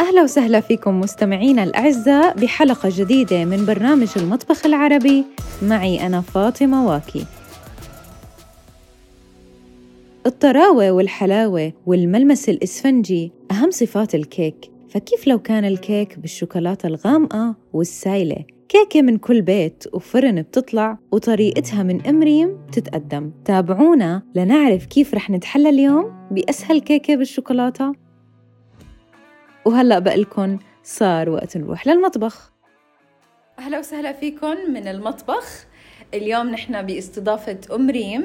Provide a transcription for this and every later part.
أهلا وسهلا فيكم مستمعينا الأعزاء بحلقة جديدة من برنامج المطبخ العربي معي أنا فاطمة واكي الطراوة والحلاوة والملمس الإسفنجي أهم صفات الكيك فكيف لو كان الكيك بالشوكولاتة الغامقة والسايلة كيكة من كل بيت وفرن بتطلع وطريقتها من أم ريم تتقدم تابعونا لنعرف كيف رح نتحلى اليوم بأسهل كيكة بالشوكولاتة وهلأ بقلكن صار وقت نروح للمطبخ أهلا وسهلا فيكم من المطبخ اليوم نحن باستضافة أم ريم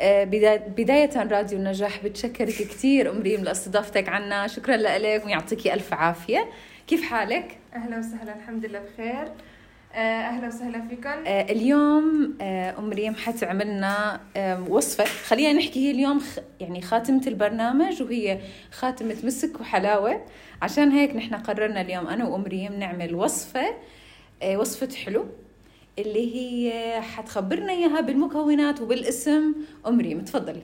آه، بدا- بداية راديو النجاح بتشكرك كثير أم ريم لاستضافتك عنا شكرا لك ويعطيكي ألف عافية كيف حالك؟ اهلا وسهلا الحمد لله بخير آه، اهلا وسهلا فيكم آه، اليوم آه، ام ريم حتعملنا آم، وصفه خلينا نحكي هي اليوم خ- يعني خاتمه البرنامج وهي خاتمه مسك وحلاوه عشان هيك نحن قررنا اليوم انا وام ريم نعمل وصفه آه، وصفه حلو اللي هي حتخبرنا اياها بالمكونات وبالاسم ام ريم تفضلي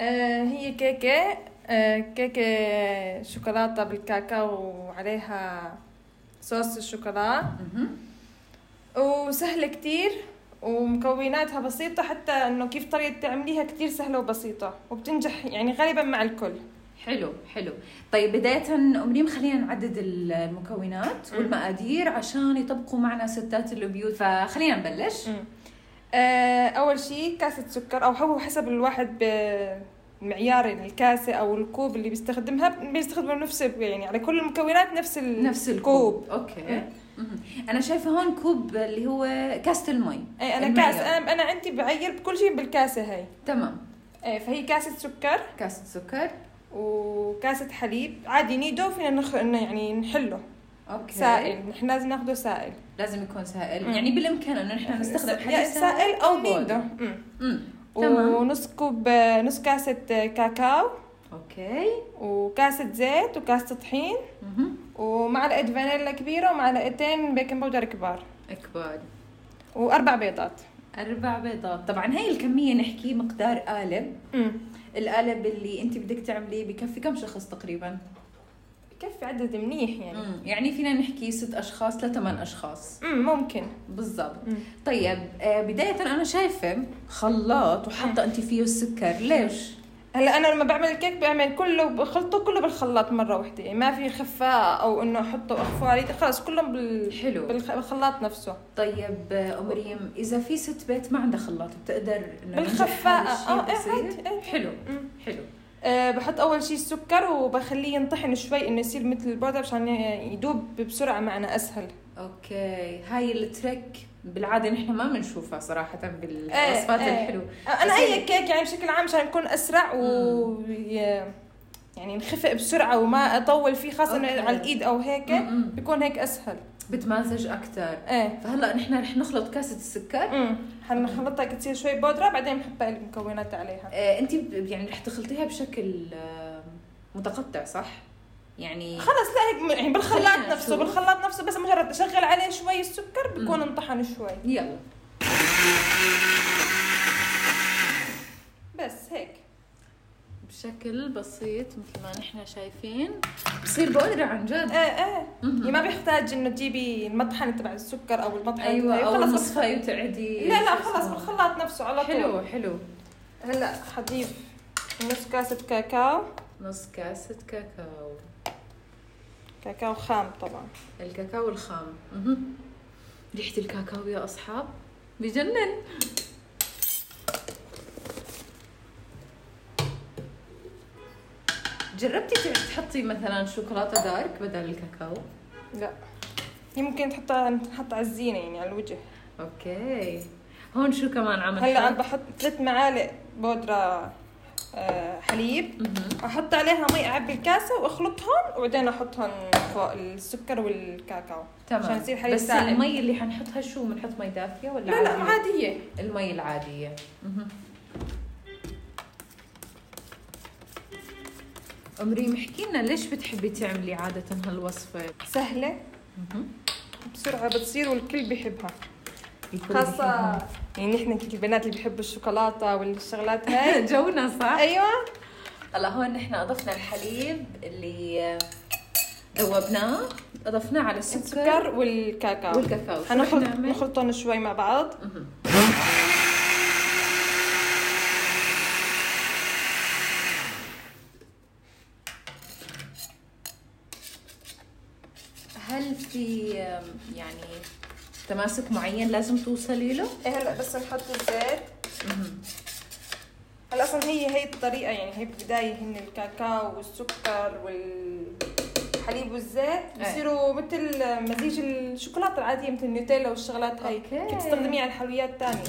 آه، هي كيكه آه، كيكه شوكولاته بالكاكاو وعليها صوص الشوكولا وسهله كتير ومكوناتها بسيطة حتى انه كيف طريقة تعمليها كتير سهلة وبسيطة وبتنجح يعني غالبا مع الكل حلو حلو طيب بداية أم ريم خلينا نعدد ال- المكونات والمقادير عشان يطبقوا معنا ستات البيوت فخلينا نبلش مم. آه، اول شيء كاسة سكر او هو حسب الواحد بمعيار يعني الكاسة او الكوب اللي بيستخدمها بيستخدموا نفس يعني على كل المكونات نفس ال- نفس الكوب اوكي إيه. مهم. انا شايفه هون كوب اللي هو كاسه المي اي انا المعيار. كاس انا انا عندي بعير بكل شيء بالكاسه هاي تمام إيه، فهي كاسه سكر كاسه سكر وكاسه حليب عادي نيدو فينا نخ... إنه يعني نحله اوكي سائل نحن لازم ناخده سائل لازم يكون سائل مم. يعني بالامكان انه نحن نستخدم يا حليب سائل او بودر. نيدو أمم. مم. تمام ونص كوب نص كاسه كاكاو اوكي وكاسه زيت وكاسه طحين مهم. ومعلقه فانيلا كبيره ومعلقتين بيكنج باودر كبار اكبر واربع بيضات اربع بيضات طبعا هاي الكميه نحكي مقدار قالب أمم. القالب اللي انت بدك تعمليه بكفي كم شخص تقريبا بكفي عدد منيح يعني مم. يعني فينا نحكي ست اشخاص لثمان اشخاص أمم، ممكن بالضبط أمم. طيب آه، بداية أنا شايفة خلاط وحاطة أنت فيه السكر ليش؟ هلا انا لما بعمل الكيك بعمل كله بخلطه كله بالخلاط مره واحده يعني ما في خفاء او انه احطه واخفوه عليه خلاص كلهم بال... حلو. بالخ- بالخلاط نفسه طيب آه، أم ريم إذا في ست بيت ما عندها خلاط بتقدر إنه بالخفاء ننجح هذا اه إيه، الشيء بصير؟ عادي، إيه. حلو أمم. حلو أه بحط اول شيء السكر وبخليه ينطحن شوي انه يصير مثل البودر عشان ي- يدوب بسرعه معنا اسهل أوكي هاي التريك بالعادة نحن ما بنشوفها صراحة بالوصفات إيه. الحلوة آه، انا بس اي يعني- كيك يعني بشكل عام عشان يكون اسرع و ي- يعني نخفق بسرعه وما اطول فيه خاصه إنه أوكي. على الايد او هيك أمم. بيكون هيك اسهل بتمازج أكثر ايه فهلا نحن رح نخلط كاسة السكر امم حنخلطها كتير شوي بودرة بعدين بنحط المكونات عليها آه، أنت ب- يعني رح تخلطيها بشكل آه، متقطع صح؟ يعني خلص لا هيك م- يعني بالخلاط خلينا نفسه نشوف. بالخلاط نفسه بس مجرد اشغل عليه شوي السكر بكون انطحن شوي يلا بس هيك بشكل بسيط مثل ما نحن شايفين بصير بودرة عن ايه جد ايه مهم. يعني ما بيحتاج انه تجيبي المطحنة تبع السكر او المطحنة ايوه تبعي، او خلص المصفى وتعدي لا لا شو خلص اسمه. بالخلاط نفسه على طول حلو حلو هلا حضيف نص كاسة كاكاو نص كاسة كاكاو كاكاو خام طبعا الكاكاو الخام مهم. ريحة الكاكاو يا أصحاب بجنن جربتي تحطي مثلا شوكولاتة دارك بدل الكاكاو؟ لا يمكن تحطها تنحط على الزينة يعني على الوجه اوكي هون شو كمان عم هلا عم نحط؟ بحط ثلاث معالق بودرة آه، حليب مهم. احط عليها مي اعبي الكاسه واخلطهم وبعدين احطهم فوق السكر والكاكاو تمام عشان يصير حليب بس سائل. المي اللي حنحطها شو بنحط مي دافيه ولا لا لا عادية؟ عاديه المي العاديه مهم. أمري محكي لنا ليش بتحبي تعملي عادة هالوصفة؟ سهله مهم. بسرعه بتصير والكل بيحبها الكل خاصه بيحبها. يعني نحن كل البنات اللي بيحبوا الشوكولاته والشغلات هاي جونا صح؟ ايوه هلا هون نحن اضفنا الحليب اللي ذوبناه اضفناه على السكر السكر والكاكاو والكاكاو شو رح هنخلط نعمل؟ نخلطهم شوي مع بعض مهم. هل في أم، يعني تماسك معين لازم توصلي له؟ إيه هلا بس نحط الزيت هلا اصلا هي هي الطريقه يعني هي بالبدايه هن الكاكاو والسكر والحليب والزيت بصيروا مثل مزيج الشوكولاته العاديه مثل النوتيلا والشغلات هاي أوكي. كيف تستخدميها على الحلويات الثانيه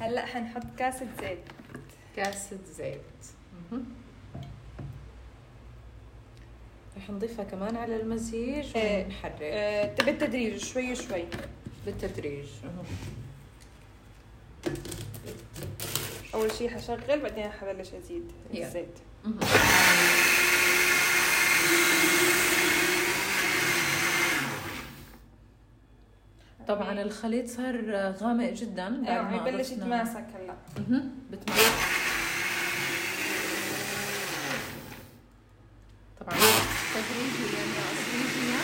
هلا حنحط كاسه زيت كاسة زيت مهم. رح نضيفها كمان على المزيج إيه. ونحرك آه، بالتدريج شوي شوي بالتدريج مهم. اول شيء حشغل بعدين حبلش ازيد Yeah. الزيت مهم. طبعا إيه، الخليط صار غامق جدا بعد ما يعني بلش قرصنا. يتماسك هلا مهم. بتماسك طبعا تدريجيا يا تدريجيا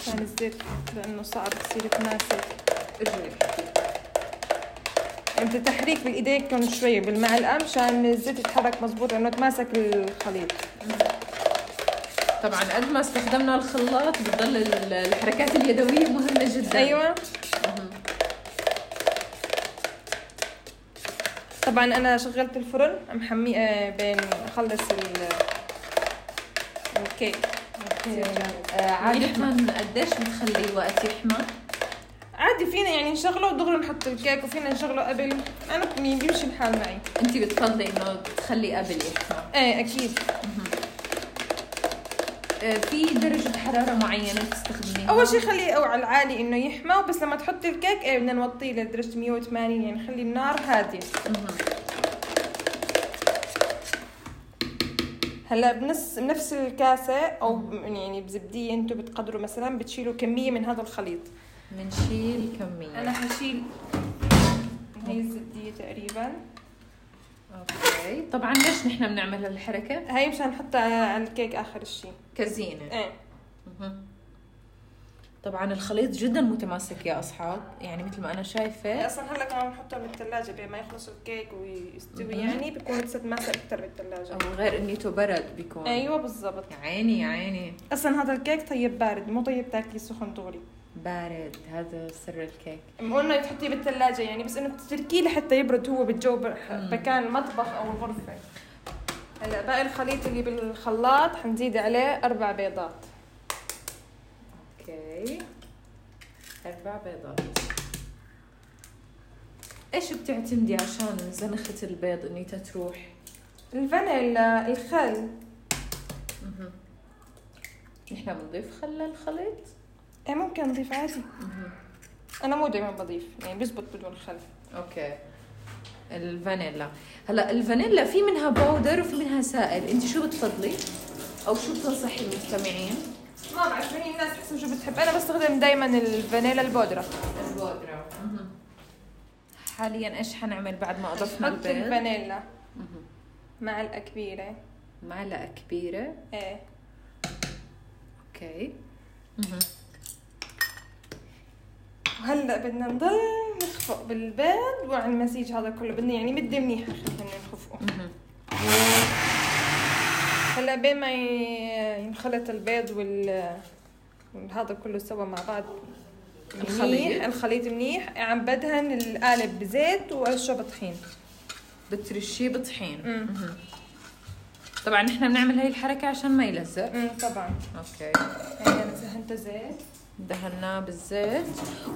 عشان الزيت لانه صعب يصير يتماسك اجري يعني بدي تحريك بالايدين كم شوي بالمعلقه مشان الزيت يتحرك مزبوط لانه تماسك الخليط طبعا قد ما استخدمنا الخلاط بتضل ال- الحركات اليدويه مهمه جدا ايوه مهم. طبعا انا شغلت الفرن محميه بين اخلص ال الكيك آه، عادة قديش بتخلي وقت يحمى؟ عادي فينا يعني نشغله ودغري نحط الكيك وفينا نشغله قبل انا بني- بيمشي الحال معي انت بتفضلي انه تخلي قبل يحمى. ايه اكيد آه، في درجة حرارة معينة بتستخدميها؟ اول شيء خليه او على العالي انه يحمى وبس لما تحطي الكيك ايه بدنا نوطيه لدرجه 180 يعني خلي النار هاديه مهم. هلا بنفس بنفس الكاسه او يعني بزبديه انتم بتقدروا مثلا بتشيلوا كميه من هذا الخليط بنشيل كمية. انا حشيل من هي الزبديه تقريبا اوكي، طبعا ليش نحن بنعمل هالحركة؟ هاي مشان نحطها على الكيك اخر شيء كزينة. ايه مهم. طبعا الخليط جدا متماسك يا اصحاب، يعني مثل ما انا شايفة اصلا هلا إيه، كمان بنحطها بالثلاجه بما يخلص الكيك ويستوي مهم. يعني بيكون لسه ماسك اكثر بالثلاجه او غير انيته برد بيكون. ايوه بالضبط يا عيني يا عيني اصلا هذا الكيك طيب بارد مو طيب تاكلي سخن دغري بارد هذا سر الكيك أم قلنا تحطيه بالثلاجة يعني بس انه تتركيه لحتى يبرد هو بالجو مم. ب- مكان المطبخ او الغرفة هلا باقي الخليط اللي بالخلاط حنزيد عليه اربع بيضات اوكي اربع بيضات ايش بتعتمدي عشان زنخة البيض انيتها تروح؟ الفانيلا الخل مهم. نحن بنضيف خل للخليط؟ ايه ممكن نضيف عادي مهم. انا مو دائما بضيف يعني بزبط بدون خل اوكي الفانيلا هلا الفانيلا في منها باودر وفي منها سائل انت شو بتفضلي؟ او شو بتنصحي المستمعين؟ ما بعرف هي الناس حسب شو بتحب انا بستخدم دائما الفانيلا البودرة البودرة مهم. حاليا ايش حنعمل بعد ما اضفنا حط البيض؟ الفانيلا مهم. معلقة كبيرة معلقة كبيرة ايه اوكي وهلا بدنا نضل نخفق بالبيض وعلى المزيج هذا كله بدنا يعني مدة منيحة خلينا نخفقه هلا بين ما ي- ينخلط البيض وال هذا كله سوا مع بعض الخليط. منيح الخليط منيح عم بدهن القالب بزيت واشرب طحين بترشيه بطحين امم طبعا نحن بنعمل هاي الحركة عشان ما يلزق أمم، طبعا اوكي هي انا يعني دهنته زيت دهناه بالزيت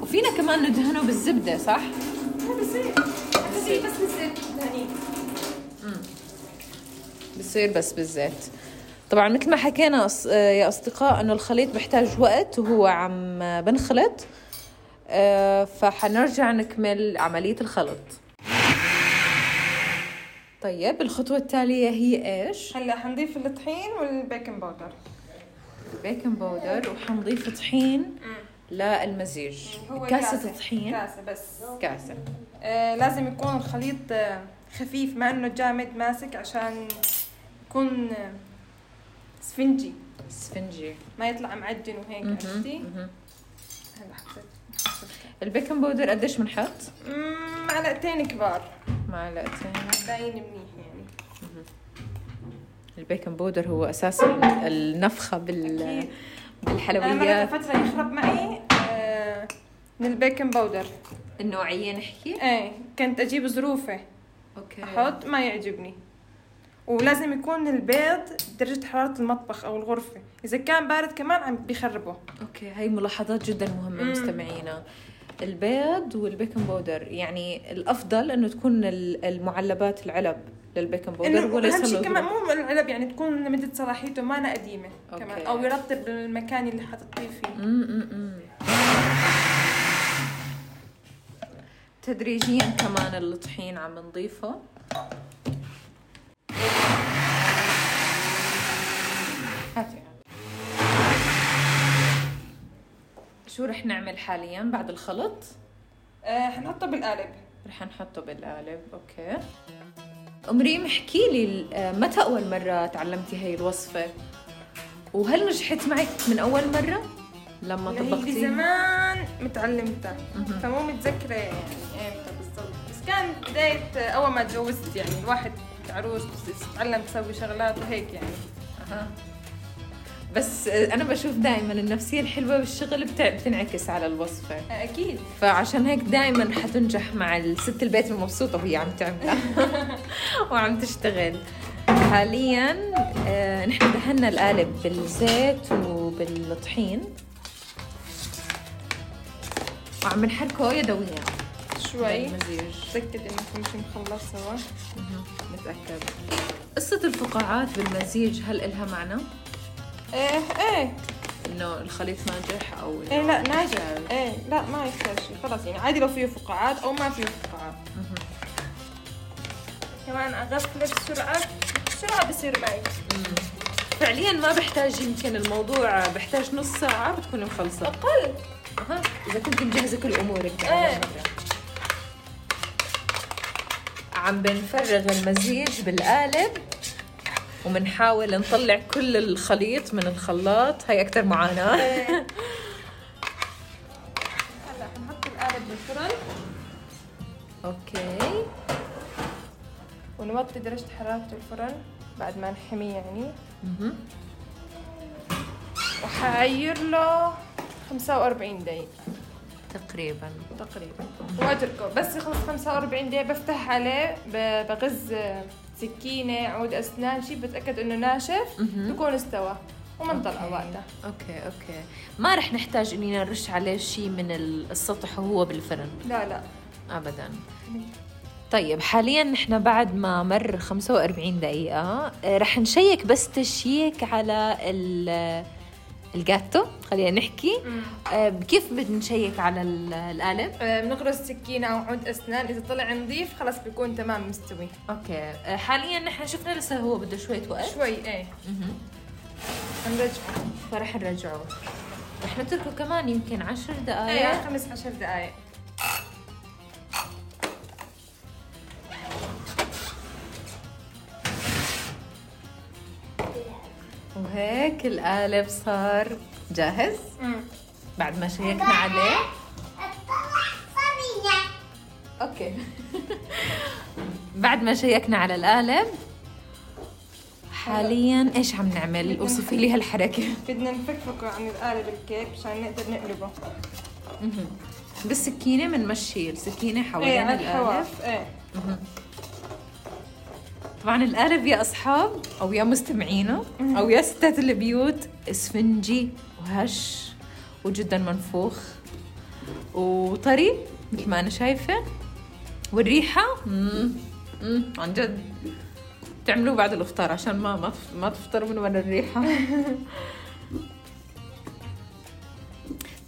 وفينا كمان ندهنه بالزبدة صح؟ ما بصير بصير بس بالزيت دهنيه بصير بس بالزيت طبعا مثل ما حكينا أص- آه، يا اصدقاء انه الخليط بحتاج وقت وهو عم آه، بنخلط آه، آه، فحنرجع نكمل عملية الخلط طيب الخطوة التالية هي ايش؟ هلا حنضيف الطحين والبيكنج باودر بيكنج باودر وحنضيف طحين للمزيج يعني هو كاسة طحين كاسه بس كاسة آه لازم يكون الخليط آه خفيف ما انه جامد ماسك عشان يكون آه سفنجي سفنجي ما يطلع معجن وهيك مهم، يعني عرفتي مهم. هلا حطيت البيكنج باودر قديش بنحط؟ مم، معلقتين كبار معلقتين باين منيح يعني البيكنج باودر هو اساس النفخة بال... اكيد انا مرة بالحلويات كان فتره يخرب معي آه من البيكنج باودر النوعية نحكي ايه كنت اجيب ظروفه اوكي احط ما يعجبني ولازم يكون البيض درجة حرارة المطبخ أو الغرفة إذا كان بارد كمان عم بيخربه اوكي هاي ملاحظات جدا مهمه مم. مستمعينا البيض والبيكنج باودر يعني الافضل انه تكون ال- المعلبات العلب للبيكنج باودر إنه وليس أهم شيء كمان الغرب. مو العلب يعني تكون مدة صلاحيته ما أنا قديمة أوكي. كمان أو يرطب المكان اللي حتحطيه مم، فيه مم، مم. تدريجيا كمان الطحين عم نضيفه هاتي. شو رح نعمل حاليا بعد الخلط؟ آه حنحطه بالقالب رح نحطه بالقالب اوكي ام ريم احكي لي ال- متى اول مره تعلمتي هاي الوصفه وهل نجحت معك من اول مره لما اللي هي طبقتي يعني زمان متعلمتها مهم. فمو متذكرة يعني إمتى بالضبط بس كان بداية آه، أول ما تجوزت يعني الواحد عروس بس تعلم تسوي شغلات وهيك يعني أها. بس انا بشوف دائما النفسيه الحلوه بالشغل بتع- بتنعكس على الوصفه آه أكيد فعشان هيك دائما حتنجح مع الست البيت المبسوطه وهي عم تعملها وعم تشتغل حاليا آه، نحن دهنا القالب بالزيت وبالطحين وعم نحركه يدويا شوي للمزيج. متأكد إنكم مش مخلصة مهم. متأكد قصة الفقاعات بالمزيج هل إلها معنى؟ ايه ايه إنه الخليط ناجح أو إنه ايه لا ناجح ايه لا ما يحتاج شيء خلاص يعني عادي لو فيه فقاعات او ما فيه فقاعات مهم. كمان اغسله بسرعه بسرعه بصير معي فعليا ما بحتاج يمكن الموضوع بحتاج نص ساعة بتكوني مخلصة اقل أها، إذا كنت مجهزة كل أمورك إيه. عم بنفرغ المزيج بالقالب وبنحاول نطلع كل الخليط من الخلاط هاي أكثر معاناة إيه. هلا حنحط القالب بالفرن أوكي ونوطي درجه حراره الفرن بعد ما نحميه يعني مهم. وحعير له 45 دقيقة تقريبا تقريبا واتركه بس يخلص 45 دقيقة بفتح عليه ب- بغز سكينة عود اسنان شيء بتأكد انه ناشف مهم. بكون استوى ومنطلقه أوكي. وقتها اوكي اوكي ما رح نحتاج اني نرش عليه شيء من ال- السطح وهو بالفرن لا لا ابدا طيب حاليا نحن بعد ما مر 45 دقيقة آه، رح نشيك بس تشيك على ال- الجاتو خلينا نحكي آه، كيف بنشيك على ال- القالب؟ آه، بنغرز سكينة أو عود أسنان إذا طلع نظيف خلاص بيكون تمام مستوي اوكي آه، حاليا نحن شفنا لسه هو بده شوية وقت شوي إيه مهم. نرجعه فرح نرجعه رح نتركه كمان يمكن 10 دقائق إيه خمس عشر دقايق وهيك القالب صار جاهز بعد ما شيكنا عليه اوكي بعد ما شيكنا على القالب حاليا ايش عم نعمل اوصفي لي هالحركه بدنا نفكفكه عن القالب الكيك عشان نقدر نقلبه مهم. بالسكينه بنمشي السكينه إيه حوالين على القالب الحواف إيه مهم. طبعا القالب يا اصحاب او يا مستمعينا او يا ستات البيوت اسفنجي وهش وجدا منفوخ وطري مثل ما انا شايفه والريحه مم. مم. عن جد تعملوه بعد الافطار عشان ما ما, تف- ما تفطر من ورا الريحه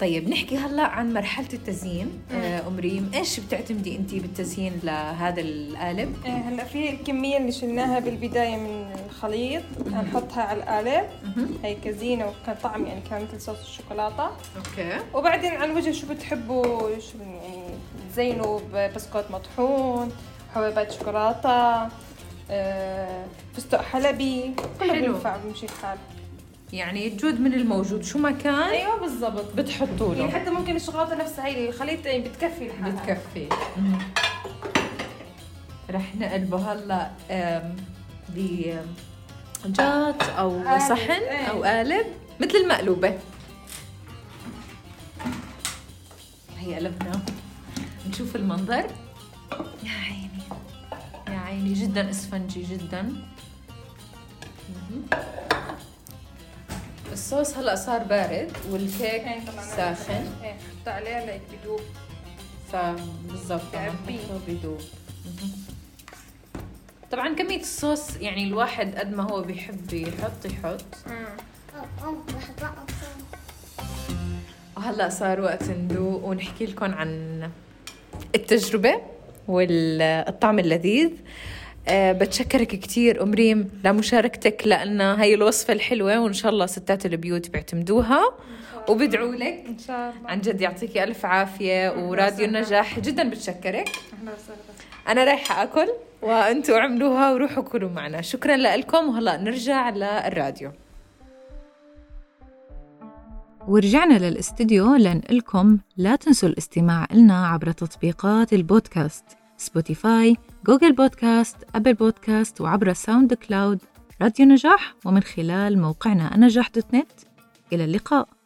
طيب نحكي هلا عن مرحله التزيين آه، ام ريم ايش بتعتمدي انت بالتزيين لهذا القالب آه، هلا في الكمية اللي شلناها بالبداية من الخليط هنحطها على القالب مهم. هي كزينة وكان طعم يعني كان مثل صوص الشوكولاتة اوكي وبعدين على الوجه شو بتحبوا شو يعني تزينوا ببسكوت مطحون حبيبات شوكولاتة آه، فستق حلبي كله حلو. بينفع بيمشي الحال يعني جود من الموجود شو ما كان ايوه بالضبط بتحطوا يعني له حتى ممكن الشوكولاته نفسها هي الخليط يعني بتكفي لحالها بتكفي مهم. رح نقلبه هلا آم، ب جات او قالب، صحن إيه. او قالب مثل المقلوبه هي قلبنا نشوف المنظر يا عيني يا عيني جدا اسفنجي جدا مهم. الصوص هلا صار بارد والكيك يعني طبعاً أنا ساخن إيه، حط عليها ليك بدوب فبالضبط لما تعبيه. نحطه بدوب مهم. طبعا كمية الصوص يعني الواحد قد ما هو بيحب يحط يحط وهلا صار وقت ندوق ونحكي لكم عن التجربة والطعم اللذيذ أه بتشكرك كتير أم ريم لمشاركتك لأن هاي الوصفة الحلوة وإن شاء الله ستات البيوت بيعتمدوها وبدعوا لك ان شاء الله عن جد يعطيكي ألف عافية وراديو النجاح جدا بتشكرك اهلا وسهلا انا رايحه اكل وانتوا اعملوها وروحوا كلوا معنا شكرا لكم وهلا نرجع للراديو ورجعنا للاستديو لنقلكم لا تنسوا الاستماع لنا عبر تطبيقات البودكاست سبوتيفاي، جوجل بودكاست، أبل بودكاست وعبر ساوند كلاود راديو نجاح ومن خلال موقعنا نجاح دوت نت إلى اللقاء